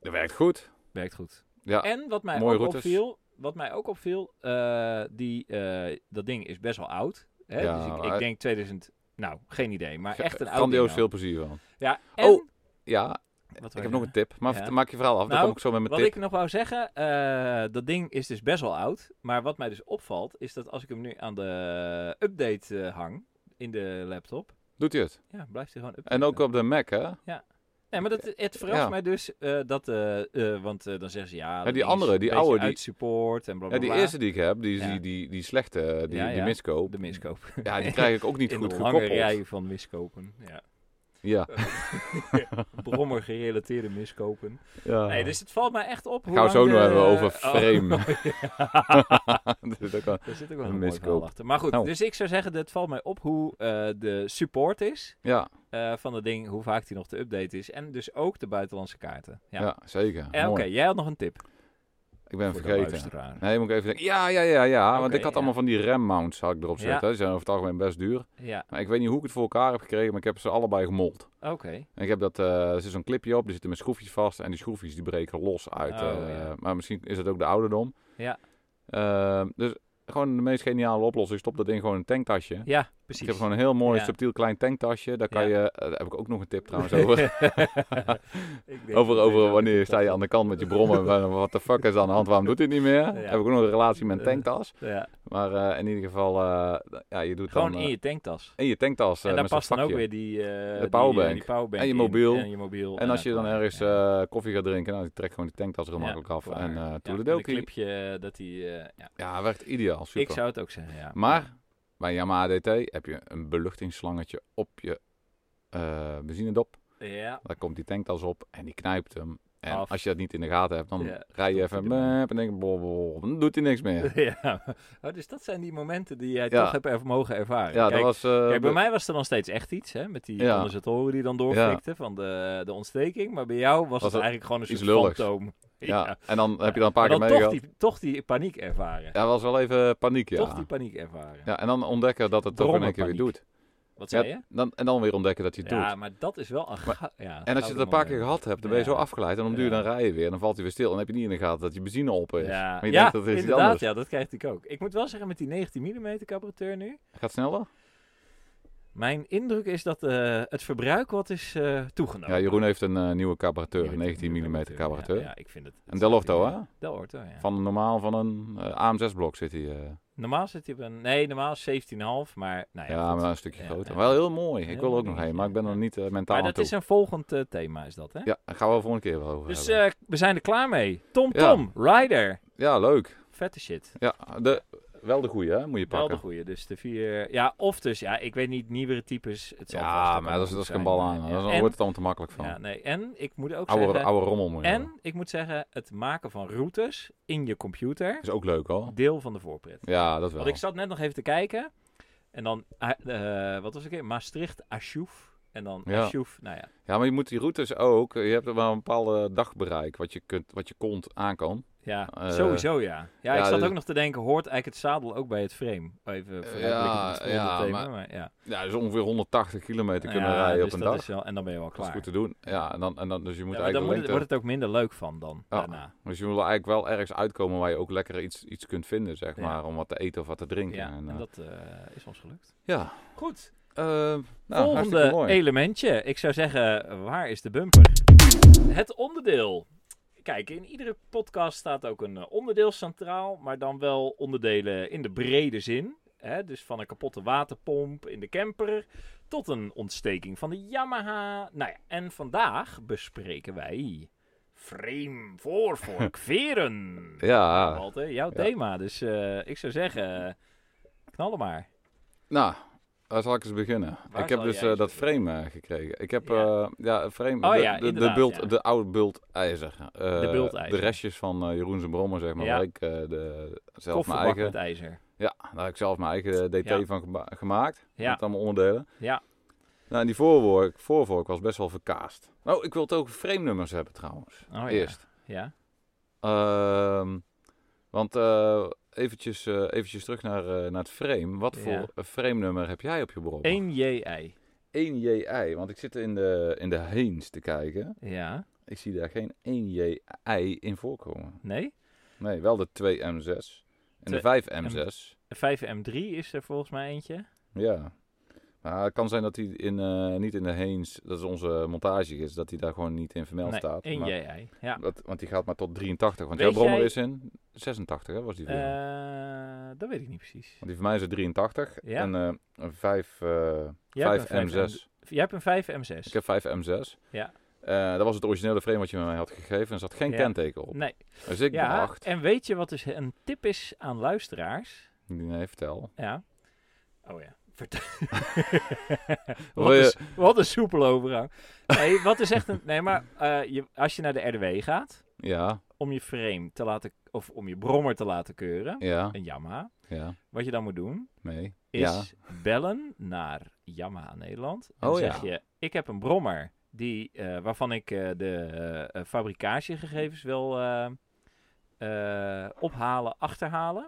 Dat werkt goed. Werkt goed. Ja, en wat mij mooie ook routes. opviel... Wat mij ook opviel, eh, die, eh, dat ding is best wel oud. Hè? Ja, dus ik, maar- ik denk 2000... Nou, geen idee, maar echt een oud ding grandioos al. veel plezier van. Ja, en... Oh, Ja, wat ik wou heb je nog een tip. Maar Ja. maak je verhaal af, dan Nou, kom ik zo met mijn Wat tip. ik nog wou zeggen, eh, dat ding is dus best wel oud. Maar wat mij dus opvalt, is dat als ik hem nu aan de update eh, hang in de laptop, Doet hij het? ja, blijft hij gewoon updaten. En ook op de Mac, hè? Nee, maar dat, het verrast Ja. mij dus eh, dat, eh, eh, want eh, dan zeggen ze ja, dat die ding is andere, een die beetje oude, die- uit support en Ja, blablabla. die eerste die ik heb, die, Ja. die, die, die slechte, die, Ja, die ja. miskoop. de miskoop. Ja, die krijg ik ook niet in goed de lange gekoppeld. rij van miskopen. Ja. Ja. Brommer gerelateerde miskopen. ja. Nee, dus het valt mij echt op. hoe Oh. Gaan we zo lang nog de- hebben over Oh. frame. Dat is ook wel- Daar zit ook wel een Een mooi miskoop. verhaal achter. Maar goed, Nou. dus ik zou zeggen, het valt mij op hoe eh, de support is ja, eh, van dat ding, hoe vaak die nog te update is. En dus ook de buitenlandse kaarten. Ja. ja. zeker. Eh, Oké, Mooi. jij had nog een tip. Ik ben voor de vergeten. luisteraar. Nee, moet ik even denken. Ja, ja, ja, ja. want Oké, ik had ja. allemaal van die rem mounts had ik erop Ja. zitten. hè. Die zijn over het algemeen best duur. Ja, Maar ik weet niet hoe ik het voor elkaar heb gekregen, maar ik heb ze allebei gemold. oké. En ik heb dat, eh, er zit zo'n clipje op, er zitten met schroefjes vast en die schroefjes die breken los uit. Oh, eh, ja. Maar misschien is het ook de ouderdom. Ehm, Ja. Eh, dus gewoon de meest geniale oplossing, stop dat ding gewoon in een tanktasje. Ja, precies. Ik heb gewoon een heel mooi Ja. subtiel klein tanktasje. Daar Ja. kan je, eh, daar heb ik ook nog een tip trouwens over. Ik denk over dat deze over ook wanneer niet sta je aan de kant met je brommen. van, Wat de fuck is aan de hand? Waarom doet hij het niet meer? Heb ik ook nog een relatie met een Eh, tanktas. Ja. Maar eh, in ieder geval, eh, ja, je doet Gewoon dan... in eh, je tanktas. in je tanktas. eh, en daar met zo'n past dan ook vakje. weer die, eh die, eh, powerbank. die powerbank En je in. mobiel. en je mobiel. En als je dan uiteraard, ergens ja. eh, koffie gaat drinken, nou, die trekt gewoon die tanktas er makkelijk af. klaar. En Ja, uh, met toedeledokie. Een clipje eh, dat die... eh, ja. ja, werkt ideaal. Super. Ik zou het ook zeggen, ja. Maar bij Yamaha DT heb je een beluchtingsslangetje op je eh benzinedop. Ja, Daar komt die tanktas op en die knijpt hem. En Af. als je dat niet in de gaten hebt, dan Ja, rij je stopt even hij ermee. mep en denk je, bol, bol, dan doet hij niks meer. ja. Oh, dus dat zijn die momenten die jij Ja. toch hebt er- mogen ervaren. Ja, dat kijk, was... eh, kijk, bij de- mij was er dan steeds echt iets, hè, met die Ja. condensatoren die dan doorflikten van de, de ontsteking. Maar bij jou was, Was het er eigenlijk gewoon een iets soort lulligs. fantoom. ja. Ja. En dan heb je dan een paar Maar keer dan mee toch gehad. die, toch die paniek ervaren. Ja, dat was wel even paniek, ja. Toch die paniek ervaren. Ja, en dan ontdekken dat het toch in één keer weer Brommerpaniek. doet. Wat Ja, zei je? dan, en dan weer ontdekken dat je het doet. Ja, maar dat is wel een ga- ja, En als je gouden het een paar moment. keer gehad hebt, dan ben je Ja. zo afgeleid. En om duur Ja. dan rij je weer. En dan valt hij weer stil. En dan heb je niet in de gaten dat je benzine op is. Ja, Maar je ja, denkt dat er iets inderdaad, anders ja, dat krijg ik ook. Ik moet wel zeggen, met die 19 mm carburateur nu, Gaat sneller? mijn indruk is dat eh, het verbruik wat is eh, toegenomen. Ja, Jeroen heeft een eh, nieuwe carburateur. Een 19 mm mm carburateur. Ja, ja, ik vind het. Een Del Orto, hè? Del Orto, ja. Van een normaal van een AM6-blok zit hij. eh. Normaal zit hij op een, nee, normaal is 17,5, maar nou ja. ja, goed. maar een stukje Ja, groter. ja. Wel heel mooi. Ik Heel wil er ook nog mooi, heen, maar ik ben er ja. niet eh, mentaal Maar aan dat toe. is een volgend eh, thema, is dat, hè? Ja, daar gaan we voor een keer wel over Dus hebben. eh, we zijn er klaar mee. Tom Ja. Tom, Rider. ja, leuk. Vette shit. Ja, de, wel de goede, hè? Moet je Wel de pakken. goeie. Dus de vier, ja, of dus, ja, ik weet niet, nieuwere types. Het zal vast Ja, ook maar wel dat is, goed dat is zijn, een bal maar, aan. ja. Dan En- wordt het allemaal te makkelijk van. Ja, nee. En ik moet ook oude, zeggen. oude rommel moet je hebben. En ik moet zeggen, het maken van routes in je computer, Is ook leuk, hoor. deel van de voorpret. Ja, dat wel. Want ik zat net nog even te kijken. En dan, ah, eh, wat was ik? weer? Maastricht, Asjoef. En dan Ja. Asjoef, nou ja. Ja, maar je moet die routes ook. eh, Je hebt wel een bepaalde dagbereik wat je kunt, wat je kont aan kan. Ja, Eh, sowieso ja. Ja, ja, ik zat dus- ook nog te denken, hoort eigenlijk het zadel ook bij het frame? Even vooruitblikken op het volgende ja, thema, maar- maar ja. Ja, dus ongeveer 180 kilometer kunnen Nou ja, rijden dus op een dat dag. Is wel, en dan ben je wel Dat is klaar. goed te doen. Ja, en dan, en dan dus je moet Ja, maar dan eigenlijk moet het- lengte- wordt het ook minder leuk van dan, Ja. daarna. Dus je wil eigenlijk wel ergens uitkomen waar je ook lekker iets, iets kunt vinden, zeg Ja. maar, om wat te eten of wat te drinken. Ja, en, en eh, dat eh, is ons gelukt. ja. Goed, Eh, nou, hartstikke Volgende mooi. elementje. Ik zou zeggen, waar is de bumper? Het onderdeel. Kijk, in iedere podcast staat ook een eh, onderdeel centraal, maar dan wel onderdelen in de brede zin. Hè? Dus van een kapotte waterpomp in de camper tot een ontsteking van de Yamaha. Nou ja, en vandaag bespreken wij frame, voorvork, veren. Ja, Walter, jouw Ja. thema. Dus eh, ik zou zeggen, knallen maar. nou, waar zal ik eens beginnen? Waar ik heb zal dus jij eh, eens dat frame eh, gekregen. Ik heb, Ja. ja, ja een frame, Oh de, ja, de, de, inderdaad, bult, ja. de oude bultijzer. Eh, De bultijzer. De restjes van eh, Jeroen zijn brommer, zeg maar, Ja. waar ik eh, de, zelf mijn Kofferbak eigen... met ijzer. Ja, daar heb ik zelf mijn eigen DT Ja. van gema- gemaakt. Ja. Met allemaal onderdelen. Ja. Nou, en die voorvork, voorvork was best wel verkaast. Nou, ik wil het ook frame nummers hebben trouwens. Oh, ja. Eerst. Ja. Ehm, want eh, eventjes, eh, eventjes terug naar, eh, naar het frame. Wat Ja. voor eh, frame nummer heb jij op je bron? 1 JI. 1 JI. Want ik zit in de, in de Heens te kijken. Ja. Ik zie daar geen 1 JI in voorkomen. Nee. Nee, wel de 2 M6. En Twee de 5 M6. Een 5M3 is er volgens mij eentje. Ja. Maar het kan zijn dat hij in, eh, niet in de Heens, dat is onze montage is, dat hij daar gewoon niet in vermeld nee, staat. 1 Maar JI. Ja. dat, want die gaat maar tot 83. Want Weet jouw brommer jij- is in 86, hè, was die voor jou? Eh, dat weet ik niet precies. Want die voor mij is het 83. Ja. En eh, een 5, eh, Jij hebt 5 een 5M3. M6. Jij hebt een 5M6. Ik heb 5 M6. Ja. Eh, dat was het originele frame wat je mij had gegeven. En er zat geen Ja. kenteken op. Nee. Dus ik ja. dacht... En weet je wat dus een tip is aan luisteraars? Nee, vertel. Ja. Oh ja. Vertel. Wil wat, je- een, wat een soepel overgang. Nee, wat is echt een... Nee, maar eh, je, als je naar de RDW gaat, Ja, om je frame te laten... Of om je brommer te laten keuren, ja, een Yamaha, ja. wat je dan moet doen, Nee. Ja. is bellen naar Yamaha Nederland. En Oh, zeg ja. je, ik heb een brommer die, eh, waarvan ik eh, de eh, eh, fabricagegevens wil eh, eh, ophalen, achterhalen.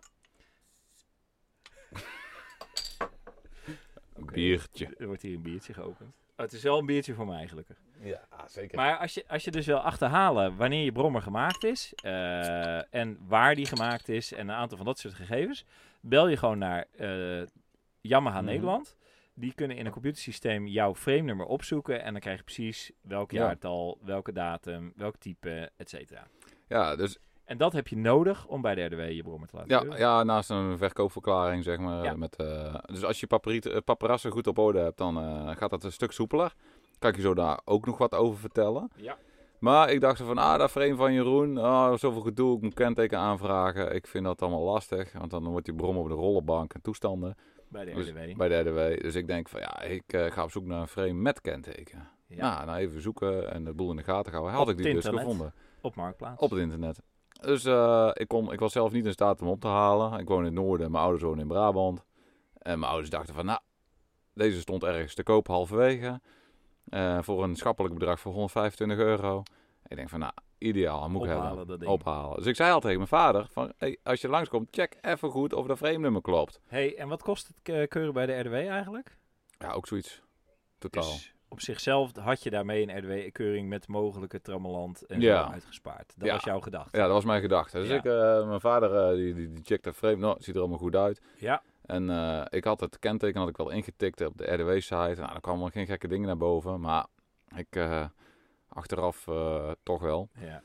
Oké, Biertje. Er wordt hier een biertje geopend. Oh, het is wel een biertje voor mij gelukkig. Ja, zeker. Maar als je, als je dus wil achterhalen wanneer je brommer gemaakt is eh, en waar die gemaakt is en een aantal van dat soort gegevens, bel je gewoon naar eh Yamaha Mhm. Nederland. Die kunnen in een computersysteem jouw frame nummer opzoeken. En dan krijg je precies welk Ja. jaartal, welke datum, welk type, et cetera. Ja, dus En dat heb je nodig om bij de RDW je brommer te laten ja, keuren. ja, naast een verkoopverklaring, zeg maar. Ja. Met, eh, dus als je paperiet- eh, paparazzen goed op orde hebt, dan eh, gaat dat een stuk soepeler. Kan ik je zo daar ook nog wat over vertellen. Ja. Maar ik dacht zo van, ah, dat frame van Jeroen, ah, zoveel gedoe, ik moet kenteken aanvragen. Ik vind dat allemaal lastig, want dan wordt die brom op de rollenbank en toestanden bij de Dus RDW. bij de RDW. Dus ik denk van, ja, ik eh, ga op zoek naar een frame met kenteken. Ja, Nou, nou, even zoeken en de boel in de gaten houden. Had Op ik die het dus internet. gevonden. Op Marktplaats. Op het internet. Dus eh, ik, kon, ik was zelf niet in staat om op te halen. Ik woon in het noorden, mijn ouders wonen in Brabant. En mijn ouders dachten van, nou, deze stond ergens te koop halverwege. Eh, voor een schappelijk bedrag van 125 euro. Ik denk van, nou, ideaal, dat moet ik Ophalen, hebben. dat ding. Ophalen. Dus ik zei al tegen mijn vader, van, hey, als je langskomt, check even goed of dat frame nummer klopt. hey, en wat kost het eh, keuren bij de RDW eigenlijk? Ja, ook zoiets. Totaal. Dus op zichzelf had je daarmee een RDW-keuring met mogelijke trammeland en Ja. zo uitgespaard. Dat Ja. was jouw gedachte. Ja, dat was mijn gedachte. Dus Ja. ik, eh, mijn vader, eh, die, die, die checkt dat frame. Nou, het ziet er allemaal goed uit. Ja. En eh, ik had het kenteken had ik wel ingetikt op de RDW-site. Nou, daar kwamen wel geen gekke dingen naar boven. Maar ik eh, achteraf eh, toch wel. ja.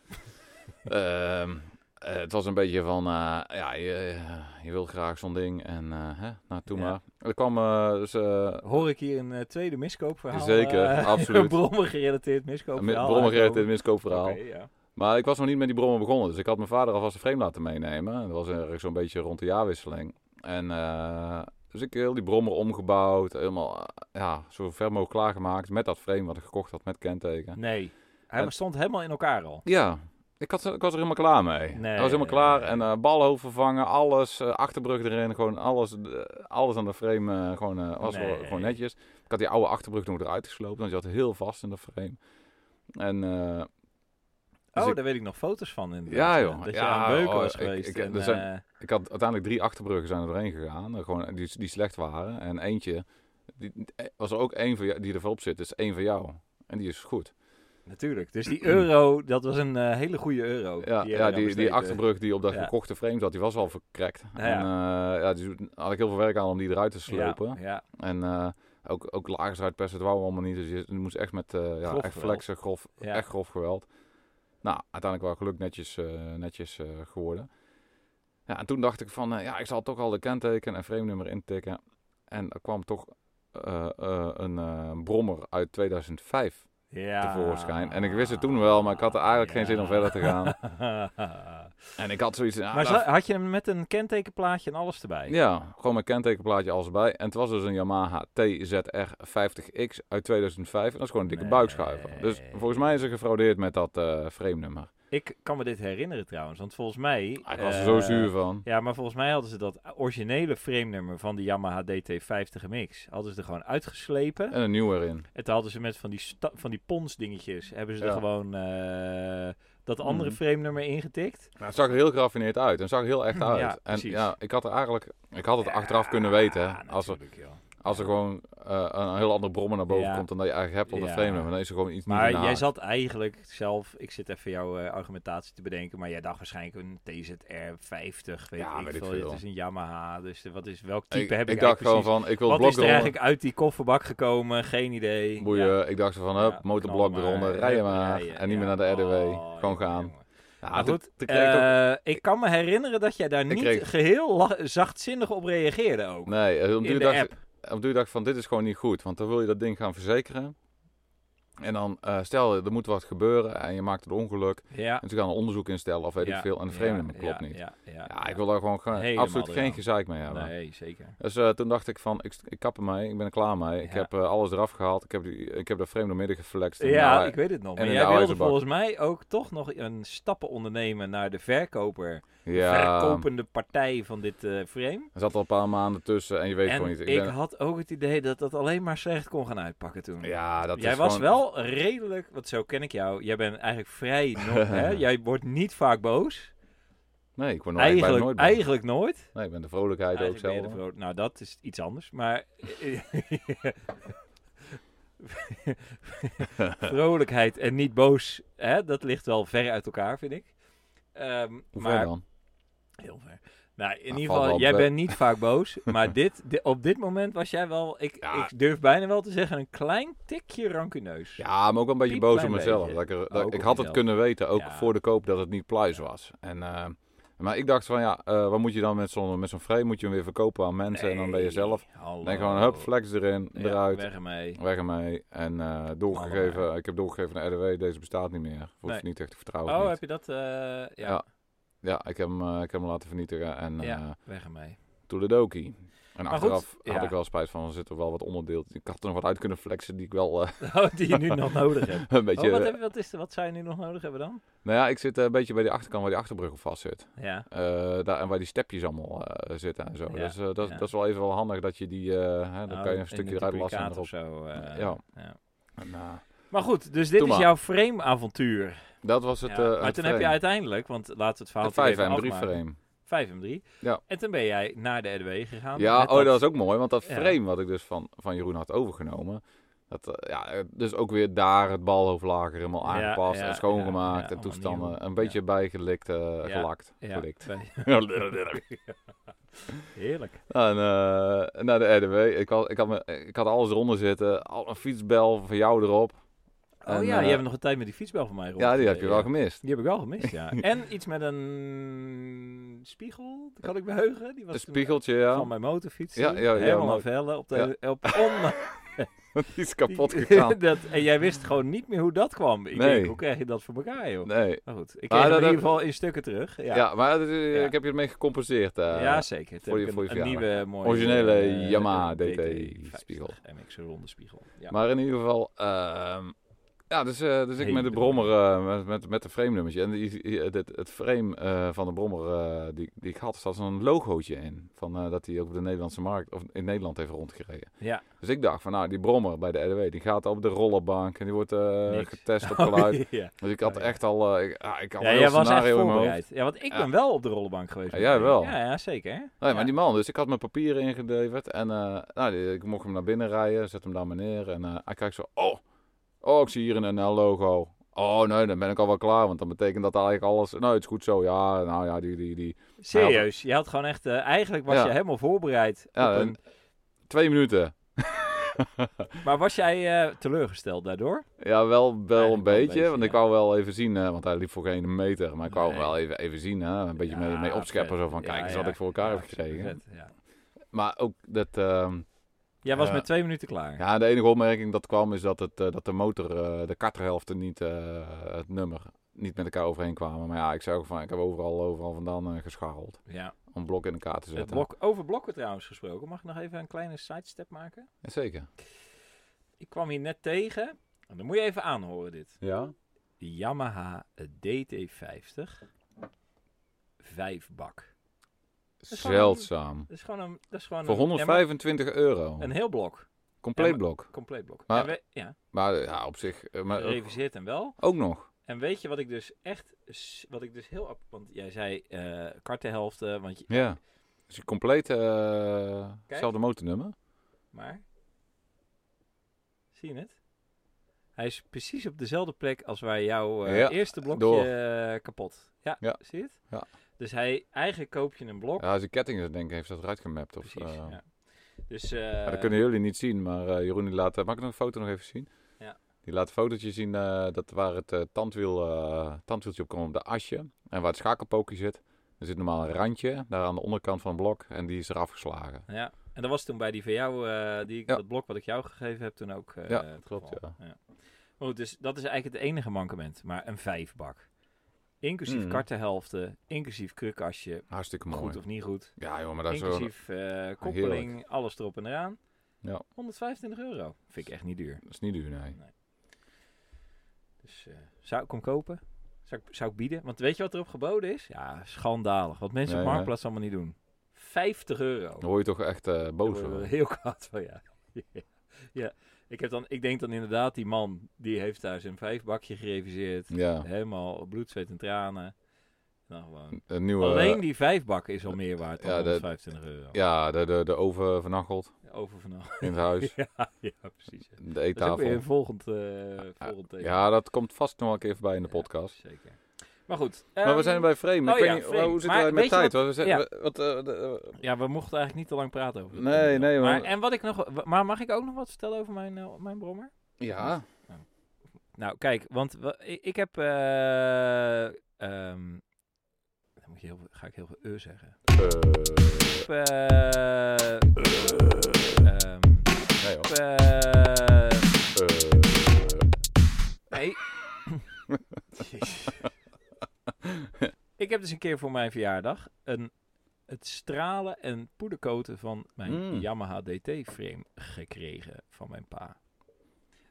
Ehm, eh, het was een beetje van, eh, ja, je, eh, je wil graag zo'n ding. En eh, hè, nou, toen Ja. maar. Er kwam eh, dus, eh, Hoor ik hier een eh, tweede miskoopverhaal? Zeker, eh, absoluut. Een brommen-gerelateerd een miskoopverhaal. brommergerelateerd aankomen? miskoopverhaal. Oké, ja. Maar ik was nog niet met die brommen begonnen. Dus ik had mijn vader alvast een frame laten meenemen. Dat was ergens zo'n beetje rond de jaarwisseling. En eh, dus ik heel die brommer omgebouwd. Helemaal eh, ja, zo ver mogelijk klaargemaakt. Met dat frame wat ik gekocht had met kenteken. Nee, hij Het- stond helemaal in elkaar al. Ja, ik, had, ik was er helemaal klaar mee. Nee. ik was helemaal klaar. En eh balhoofd vervangen, alles. eh, achterbrug erin, gewoon alles. eh, alles aan de frame eh, gewoon, eh, was wel- Nee. gewoon netjes. Ik had die oude achterbrug nog eruit gesloopt. Want die zat heel vast in de frame. En... eh, Dus Oh, ik- daar weet ik nog foto's van inderdaad. Ja, joh. eh, Dat je Ja, aan het beuken oh, was ik- geweest. ik- en, er zijn- eh, Ik had uiteindelijk drie achterbruggen zijn er doorheen gegaan. eh, Gewoon, die, die slecht waren. En eentje, die, eh, was er ook één van jou, die er op zit. is één van jou. En die is goed. natuurlijk. Dus die euro, dat was een eh, hele goede euro. Ja, hebben die, we ja, dan die, die besteed. achterbrug die op dat Ja. gekochte frame zat, die was al verkrekt. Ja. En eh, ja, dus had ik heel veel werk aan om die eruit te slopen. Ja, ja. En eh, ook, ook lagers eruit persen, dat wou allemaal niet. Dus je, je moest echt met eh, ja, Grof echt geweld. flexen, grof, Ja. echt grof geweld. Nou, uiteindelijk wel geluk netjes, eh, netjes eh, geworden. Ja, en toen dacht ik van, eh, ja, ik zal toch al de kenteken en frame nummer intikken. En er kwam toch eh, eh, een eh, brommer uit 2005 Ja. tevoorschijn. En ik wist het toen wel, maar ik had er eigenlijk geen zin om verder te gaan. En ik had zoiets... ah, maar nou, zo- had je hem met een kentekenplaatje en alles erbij? Ja, gewoon mijn kentekenplaatje alles bij. En het was dus een Yamaha TZR 50X uit 2005. En dat is gewoon een dikke Nee. buikschuiver. Dus volgens mij is er gefraudeerd met dat eh frame nummer. Ik kan me dit herinneren trouwens, want volgens mij... Ik was er eh, zo zuur van. Ja, maar volgens mij hadden ze dat originele frame-nummer van de Yamaha DT50MX... hadden ze er gewoon uitgeslepen. En een nieuw erin. En toen hadden ze met van die, sta- van die pons dingetjes... hebben ze er Ja. gewoon eh, dat andere Mhm. frame-nummer ingetikt. Nou, het zag er heel geraffineerd uit. En het zag er heel echt uit. Ja, en precies. ja, ik had er eigenlijk... Ik had het Ja, achteraf kunnen weten. hè. Als er, natuurlijk, joh. als er gewoon eh, een heel ander brommer naar boven Ja. komt dan dat je eigenlijk hebt op Ja. dat frame nummer. Dan is er gewoon iets niet Maar in jij haak. zat eigenlijk zelf, ik zit even jouw eh, argumentatie te bedenken, maar jij dacht waarschijnlijk een TZR 50, weet Ja, ik weet ik veel. veel. Het is een Yamaha, dus wat is, welk type Ik, heb ik, ik dacht eigenlijk gewoon precies? van, ik wil Wat is er blokrollen. eigenlijk uit die kofferbak gekomen? Geen idee. Boeien. Ja. Ik dacht zo van, hup, Ja, motorblok knal maar, eronder, hup, rijden maar. rijden, en niet ja. meer naar de RDW. Oh, gewoon jongen, gaan. jongen. Ja, Maar toen- goed, toen kreeg ik ook- eh, ik kan me herinneren dat jij daar Ik niet kreeg- geheel la- zachtzinnig op reageerde ook. Nee, eh, op in duur de dacht, app. op duur dacht ik van dit is gewoon niet goed. Want dan wil je dat ding gaan verzekeren. En dan eh, stel je, er moet wat gebeuren en je maakt het ongeluk. Ja. En ze gaan een onderzoek instellen of weet ja, ik veel. En de ja, frame nummer ja, klopt niet. Ja, Ja, ja, ik wil daar gewoon ge- Helemaal absoluut geen eraan. gezeik mee hebben. Nee, zeker. Dus eh, toen dacht ik van, ik, st- ik kap ermee, ik ben er klaar mee. Ik Ja. heb eh, alles eraf gehaald, ik heb, die, ik heb dat frame door midden geflext. En Ja, daar- ik weet het nog. eh, en Maar in jij wilde de huizenbak. volgens mij ook toch nog een stappen ondernemen naar de verkoper. ja, Verkopende partij van dit eh, frame. er zat al een paar maanden tussen en je weet en gewoon niet. ik, ben- had ook het idee dat dat alleen maar slecht kon gaan uitpakken toen. ja, dat jij is was gewoon- wel redelijk, want zo ken ik jou. Jij bent eigenlijk vrij. no- hè? Jij wordt niet vaak boos. Nee, ik word nooit, bijna Eigenlijk, nooit bang. eigenlijk nooit. Nee, ik ben de vrolijkheid Eigenlijk ben je ook de zelf. vrouw- nou, dat is iets anders. Maar. Vrolijkheid en niet boos, hè? dat ligt wel ver uit elkaar, vind ik. Ehm, Hoe ver maar dan? Heel ver. Nou, in ieder valt geval, wel jij be- bent niet vaak boos, maar dit, di- op dit moment was jij wel, ik, Ja. ik durf bijna wel te zeggen, een klein tikje rancuneus. Ja, maar ook wel een beetje Piep, boos op klein mezelf. beetje. Dat ik, er- Oh, dat, ook ik op had het jezelf. kunnen weten, ook Ja. voor de koop, dat het niet pluis was. En, eh, maar ik dacht van ja, eh, wat moet je dan met zo'n met zo'n frame? Moet je hem weer verkopen aan mensen en dan ben je Nee, zelf. hallo. Dan gewoon hup, flex erin, Ja, eruit, weg, Weg ermee. ermee. En eh, doorgegeven, ik heb doorgegeven naar RDW, deze bestaat niet meer. Hoef Nee. je niet echt te vertrouwen. Oh, niet. heb je dat? eh, ja, Ja. Ja, ik heb, hem, eh, ik heb hem laten vernietigen en Ja. eh weg ermee. toeledoki. En Maar achteraf goed, had ja. ik wel spijt van, er zitten wel wat onderdeeltjes. Ik had er nog wat uit kunnen flexen die ik wel eh, Oh, die je nu nog nodig hebt. een Oh, beetje... wat, heb, wat, is, er- wat zou je nu nog nodig hebben dan? Nou ja, ik zit eh, een beetje bij die achterkant waar die achterbrug op vast zit. Ja, Eh, daar, en waar die stepjes allemaal eh, zitten en zo. Ja, dus eh, dat, ja. dat is wel even wel handig dat je die... eh, hè, dan Nou, kan je in een stukje een eruit lassen en duplicaat erop. of zo. eh, Ja. ja. En, eh, Maar goed, dus dit Doe is maar. jouw frame-avontuur. dat was het... Ja, eh maar het toen heb je frame. uiteindelijk, want laten we het verhaal Het 5 even en 3 afmaken. frame. 5 en 3. Ja. En toen ben jij naar de RDW gegaan. Ja, met oh, dat was ook mooi, want dat Ja. frame wat ik dus van, van Jeroen had overgenomen. Dat, eh, ja, eh, dus ook weer daar het balhoofdlager helemaal Ja, aangepast ja, en schoongemaakt ja, ja, en allemaal toestanden. nieuw. Een beetje bijgelikt, eh, gelakt. Ja, Gelikt. bij- Heerlijk. En, eh, naar de RDW. Ik had, ik, had me, ik had alles eronder zitten. Al een fietsbel van jou erop. Oh En, ja, eh, je hebt nog een tijd met die fietsbel van mij rond. Ja, die heb je wel Ja. gemist. Die heb ik wel gemist, ja. en iets met een spiegel, dat kan ik me heugen. Die was Een toen eh, spiegeltje, ja. van mijn motorfiets. Ja, toen. ja, ja, Helemaal maar- aan vellen op de... Op, om, Die is kapot die- gegaan. dat, en jij wist gewoon niet meer hoe dat kwam. Ik Nee. denk, hoe krijg je dat voor elkaar, joh? Nee. Maar goed, ik Maar kreeg hem dat- in ieder geval in stukken terug. Ja, Ja, maar dat is- eh, Ja. ik heb je ermee gecompenseerd. eh, Ja, zeker. Toen voor heb je- ik voor een, je een nieuwe mooie... Originele eh, Yamaha DT DT-spiegel. 50 MX ronde spiegel. Ja. Maar in ieder geval, ehm, ja, dus, eh, dus ik Hele met de brommer. brommer, eh, met, met, met de frame nummertje. En die- die- het, het frame eh, van de brommer eh, die, die ik had, zat zo'n logootje in. Van, eh, dat hij ook op de Nederlandse markt, of in Nederland heeft rondgereden. ja. Dus ik dacht van, nou, die brommer bij de RDW, die gaat op de rollerbank en die wordt eh, Niks. getest op geluid. ja. Dus ik had Oh, ja. echt al, eh, ik, ah, ik had Ja, een heel jij was echt scenario in mijn hoofd. voorbereid. Ja, want ik ben wel op de rollenbank geweest. Ja, met jij mij. wel. Ja, ja zeker. Nee, Ja. maar die man, dus ik had mijn papieren ingeleverd en eh, nou, die- ik mocht hem naar binnen rijden, zet hem daar maar neer en eh, hij kijkt zo, oh, oh, ik zie hier een NL-logo. Oh nee, dan ben ik al wel klaar, want dat betekent dat eigenlijk alles, nou het is goed zo, ja, nou ja, die, die, die. Serieus, je had gewoon echt... eh, eigenlijk was Ja. je helemaal voorbereid. Ja, op en- een- Twee minuten. Maar was jij eh, teleurgesteld daardoor? Ja, wel, wel Eigenlijk een beetje, want ja. ik wou wel even zien, eh, want hij liep voor geen meter, maar ik wou Nee. wel even, even zien, hè, een beetje mee, Ja, mee opscheppen, vet. zo van, Ja, kijk eens wat ja. ik voor elkaar Ja, heb gekregen. vet, ja. Maar ook dat, ehm, Jij was Ja. met twee minuten klaar. ja, de enige opmerking dat kwam is dat, het, eh, dat de motor, eh, de karterhelften niet, eh, het nummer, niet met elkaar overheen kwamen. Maar ja, ik zei ook van, ik heb overal, overal vandaan eh, gescharreld Ja. om blokken in elkaar te Het zetten. blok, over blokken trouwens gesproken. Mag ik nog even een kleine sidestep maken? Ja, zeker. Ik kwam hier net tegen. En dan moet je even aanhoren dit. Ja? De Yamaha DT50. Vijfbak. is gewoon- Zeldzaam. Dat is gewoon een... Dat is gewoon Voor een- 125 euro. Een heel blok. Compleet ja, blok. Compleet blok. Maar- en we, ja, Maar eh, ja, op zich, eh, maar ook, reviseert hem wel. ook nog. En weet je wat ik dus echt, s- wat ik dus heel, ap- want jij zei eh kartenhelften, want je, Ja. Dus je compleet eh hetzelfde motornummer. maar, zie je het? Hij is precies op dezelfde plek als waar jouw eh, Ja, eerste blokje door. eh, kapot. Ja, Ja. zie je het? Ja. Dus hij, eigenlijk koop je een blok. Ja, zijn ketting is denk ik, heeft dat eruit gemapt. Of, precies, eh, ja. Dus, Ja, dat eh, kunnen jullie niet zien, maar eh, Jeroen die laat... eh, mag ik nog een foto nog even zien? Ja. Die laat een fotootje zien eh, dat waar het eh, tandwiel, eh, tandwieltje op komt, op de asje. En waar het schakelpookje zit, er zit normaal een randje daar aan de onderkant van het blok. En die is eraf geslagen. ja. En dat was toen bij die van jou, eh, die, Ja. dat blok wat ik jou gegeven heb, toen ook. eh, Ja, het klopt, geval. Maar goed, dus dat is eigenlijk het enige mankement. Maar een vijfbak. Inclusief Mhm. kartenhelften, inclusief krukasje. Hartstikke mooi. Goed of niet goed. Ja joh, maar dat is zo... inclusief eh, koppeling, alles erop en eraan. Ja. 125 euro. Vind ik echt niet duur. Dat is niet duur, nee. Dus eh, zou ik hem kopen? Zou ik, zou ik bieden? Want weet je wat erop geboden is? Ja, schandalig. Wat mensen Nee, op hè? Marktplaats allemaal niet doen. 50 euro. Dan word je toch echt eh, Daar boos worden we hoor. heel kwaad van, ja. ja. Ik, heb dan, ik denk dan inderdaad, die man die heeft thuis een vijfbakje gereviseerd. Ja, Helemaal bloed, zweet en tranen. En Dan gewoon. een nieuwe... Alleen die vijfbak is al meer waard dan eh, ja, dat- 125 euro. Ja, de, de, de oven vernacheld Over van alles. in het huis. ja, ja, precies. De Dat is ook weer eettafel. een volgend, eh volgend thema. Ja, dat komt vast nog wel een keer voorbij in de Ja, podcast. zeker. Maar goed. Maar we ehm, zijn bij frame. oh ik weet ja, niet, frame. Hoe zitten Maar wij weet met je tijd? Wat, we zijn- ja. we- wat, eh, de- eh, Ja, we mochten eigenlijk niet te lang praten over dit Nee, onderwerp. nee, maar... maar- En wat ik nog... Maar mag ik ook nog wat vertellen over mijn, eh, mijn brommer? ja. Nou, kijk, want wa- ik, ik heb. eh, ehm, dan moet je heel, ga ik heel veel eh zeggen. Ik heb. eh, ehm, Eh, nee, ik hoor. heb, eh, Eh, nee. ik heb dus een keer voor mijn verjaardag een, het stralen en poedercoaten van mijn Mm. Yamaha DT-frame gekregen van mijn pa.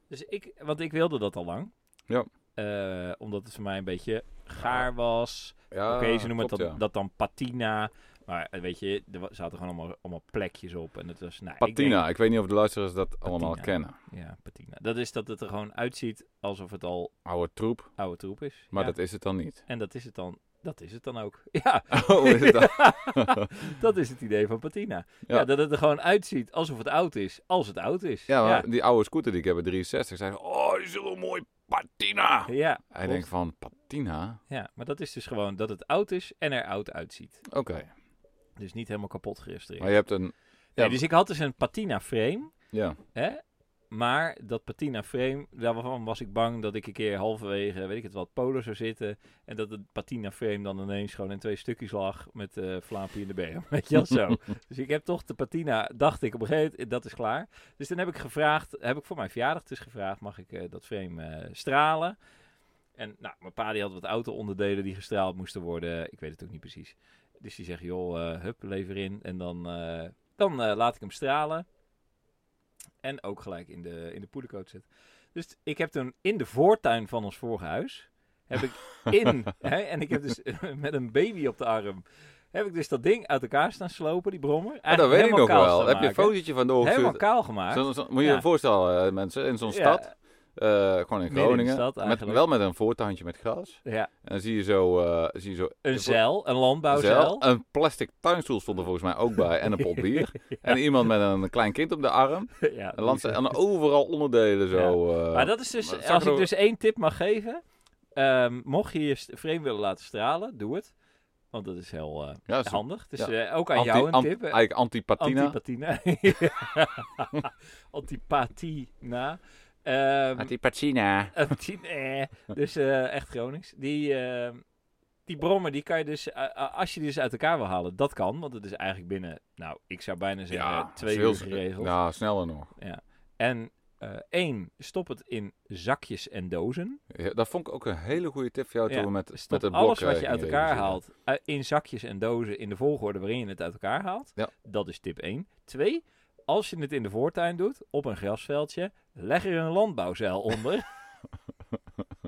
Dus ik, want ik wilde dat al lang. Ja. Eh, omdat het voor mij een beetje gaar was. ja, Oké, ze noemen Ah, klopt, het dan, ja. dat dan patina. Maar eh, weet je, er wa- zaten gewoon allemaal, allemaal plekjes op. En het was, nou, ik Patina. Ik, weet niet of de luisteraars dat allemaal Patina. kennen. denk- ja, patina. Dat is dat het er gewoon uitziet alsof het al Oude troep, oude troep is. maar Ja. dat is het dan niet. En dat is het dan. Dat is het dan ook. Ja, Oh, is het dan? dat is het idee van patina. Ja. Ja. dat het er gewoon uitziet alsof het oud is. Als het oud is. Ja, maar ja. die oude scooter die ik heb, een 63, zei ze, oh, die is wel mooi patina. Ja, Hij klopt. denkt van, patina? ja, maar dat is dus gewoon dat het oud is en er oud uitziet. Oké. Dus niet helemaal kapot gerestaureerd. Maar je hebt een... Ja, Nee, dus ik had dus een patina frame. ja. Hè? Maar dat patina frame, daarvan was ik bang dat ik een keer halverwege, weet ik het wat, Polen zou zitten. En dat het patina frame dan ineens gewoon in twee stukjes lag met eh Vlaampie in de BM. Weet je wel zo. dus ik heb toch de patina, dacht ik op een gegeven moment, dat is klaar. Dus dan heb ik gevraagd, heb ik voor mijn verjaardag dus gevraagd, mag ik eh, dat frame eh, stralen? En nou, mijn pa die had wat auto-onderdelen die gestraald moesten worden. Ik weet het ook niet precies. Dus die zegt, joh, eh hup, lever in. En dan, eh, dan eh, laat ik hem stralen. En ook gelijk in de, in de poedercoat zit. Dus ik heb toen in de voortuin van ons vorige huis. Heb ik in. hè, en ik heb dus eh, met een baby op de arm. Heb ik dus dat ding uit elkaar staan slopen, die brommer. Ah, dat Eigenlijk weet ik nog helemaal kaal wel. staan Heb je een maken. fotootje van Helemaal doorgestuurd? kaal gemaakt. Zo, zo- moet je Ja. je voorstellen, eh, mensen, in zo'n Ja, stad, eh, gewoon in de Groningen, stad met, eigenlijk. wel met een voortuintje met gras. Ja, En dan zie je zo... eh, zie je zo een zeil, een landbouwzeil. Zelf. Een plastic tuinstoel stond er volgens mij ook bij en een pot bier. En iemand met een klein kind op de arm. ja, En, langs- en overal onderdelen zo. eh, Maar dat is dus, maar zag als er ik ook- dus één tip mag geven. ehm, mocht je je st- frame willen laten stralen, doe het. Want dat is heel eh, ja, zo- handig. Dus ja. eh, ook aan anti- jou een an- tip. eh, Eigenlijk antipatina. Antipatina. Ja. Antipatina. Ehm, Antipatina. Antipatina. dus eh, echt Gronings. Die, ehm, die brommer, die kan je dus, eh, eh, als je die dus uit elkaar wil halen, dat kan. Want het is eigenlijk binnen, nou, ik zou bijna zeggen, Ja, twee dat uur is heel- geregeld. Ja, sneller nog. En eh één, stop het in zakjes en dozen. Ja, dat vond ik ook een hele goede tip voor jou Ja, toen we Oh, met, Stop met het blok alles wat je eh, uit gingen elkaar regisseren. haalt eh, in zakjes en dozen in de volgorde waarin je het uit elkaar haalt. Ja. Dat is tip 1. Twee, als je het in de voortuin doet, op een grasveldje, leg er een landbouwzeil onder.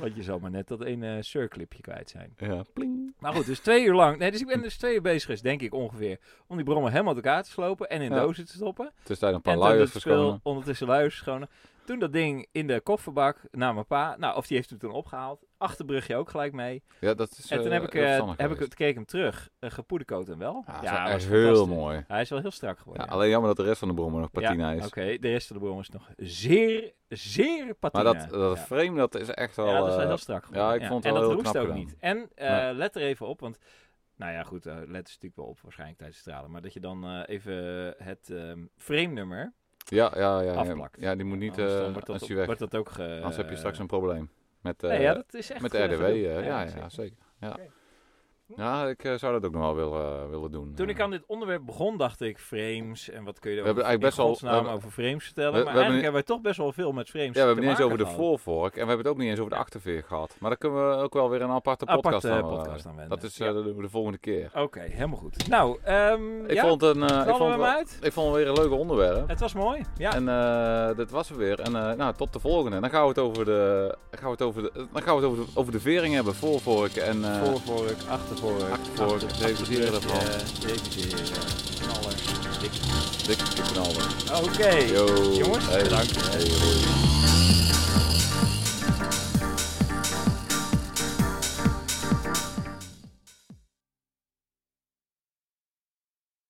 Want je zal maar net dat ene eh, surclipje kwijt zijn. Ja, pling. Maar goed, dus twee uur lang. Nee, dus ik ben dus twee uur bezig geweest, denk ik ongeveer, om die brommen helemaal uit elkaar te slopen en in Ja. dozen te stoppen. Toen zijn een paar En toen dus luiers dat spul verschonen. ondertussen luiers schonen. Toen dat ding in de kofferbak naar mijn pa. Nou, of die heeft hem toen opgehaald. Achterbrugje ook gelijk mee. Ja, dat is en toen eh, heb ik, heel eh, verstandig heb ik geweest. het keek hem terug. Uh, gepoedercoat en wel. Ja, dat is was echt heel fantastisch. mooi. Hij is wel heel strak Ja, geworden. ja. alleen jammer dat de rest van de brommer nog patina Ja, is. Oké, de rest van de brom is nog zeer, zeer patina. Maar dat, dat ja. frame, dat is echt wel... Ja, dat is wel eh, heel strak geworden. ja, ik vond het En wel dat heel roest knap ook gedaan. niet. En eh, Nee. let er even op, want... Nou ja, goed, eh, let er natuurlijk wel op waarschijnlijk tijdens het stralen. Maar dat je dan eh, even het ehm frame nummer Ja, ja, ja. ja. afplakt. Ehm, Ja, die moet niet Anders dan eh wordt, als dat, je weg. wordt dat ook ge... Anders heb je straks een probleem. Met, eh, Nee, ja, dat is echt... met de eh, RDW. gedoe. eh, ja, ja, zeker. zeker. Ja. Oké. ja, ik eh, zou dat ook nog wel willen, willen doen. Toen Eh, ik aan dit onderwerp begon, dacht ik frames en wat kun je We er hebben over, in eigenlijk best wel- we godsnaam hebben- over frames vertellen. we- we maar eigenlijk hebben niet- hebben we toch best wel veel met frames ja, we hebben te het niet eens over de maken gehad. voorvork en we hebben het ook niet eens over de achterveer gehad. Maar daar kunnen we ook wel weer een aparte Aparte podcast aan eh, podcast aan wenden. Dat is Ja. eh, dat doen we de volgende keer. Oké, helemaal goed. Nou, ehm Ik ja, vond een, eh, ik knallen we vond hem wel- uit. ik vond het weer een leuke onderwerp. Het was mooi. Ja, En eh dat was het weer. En eh, nou, tot de volgende. Dan gaan we het over de, dan gaan we het over de, dan gaan we het over de, over de vering hebben. Voorvork en eh, voorvork, achtervork, achtervork. Reviseren achtervork, ervan. eh, reviseren, knaller, dik. dikke knallen. Oké, Yo. jongens, Hey. bedankt. hè. Hey.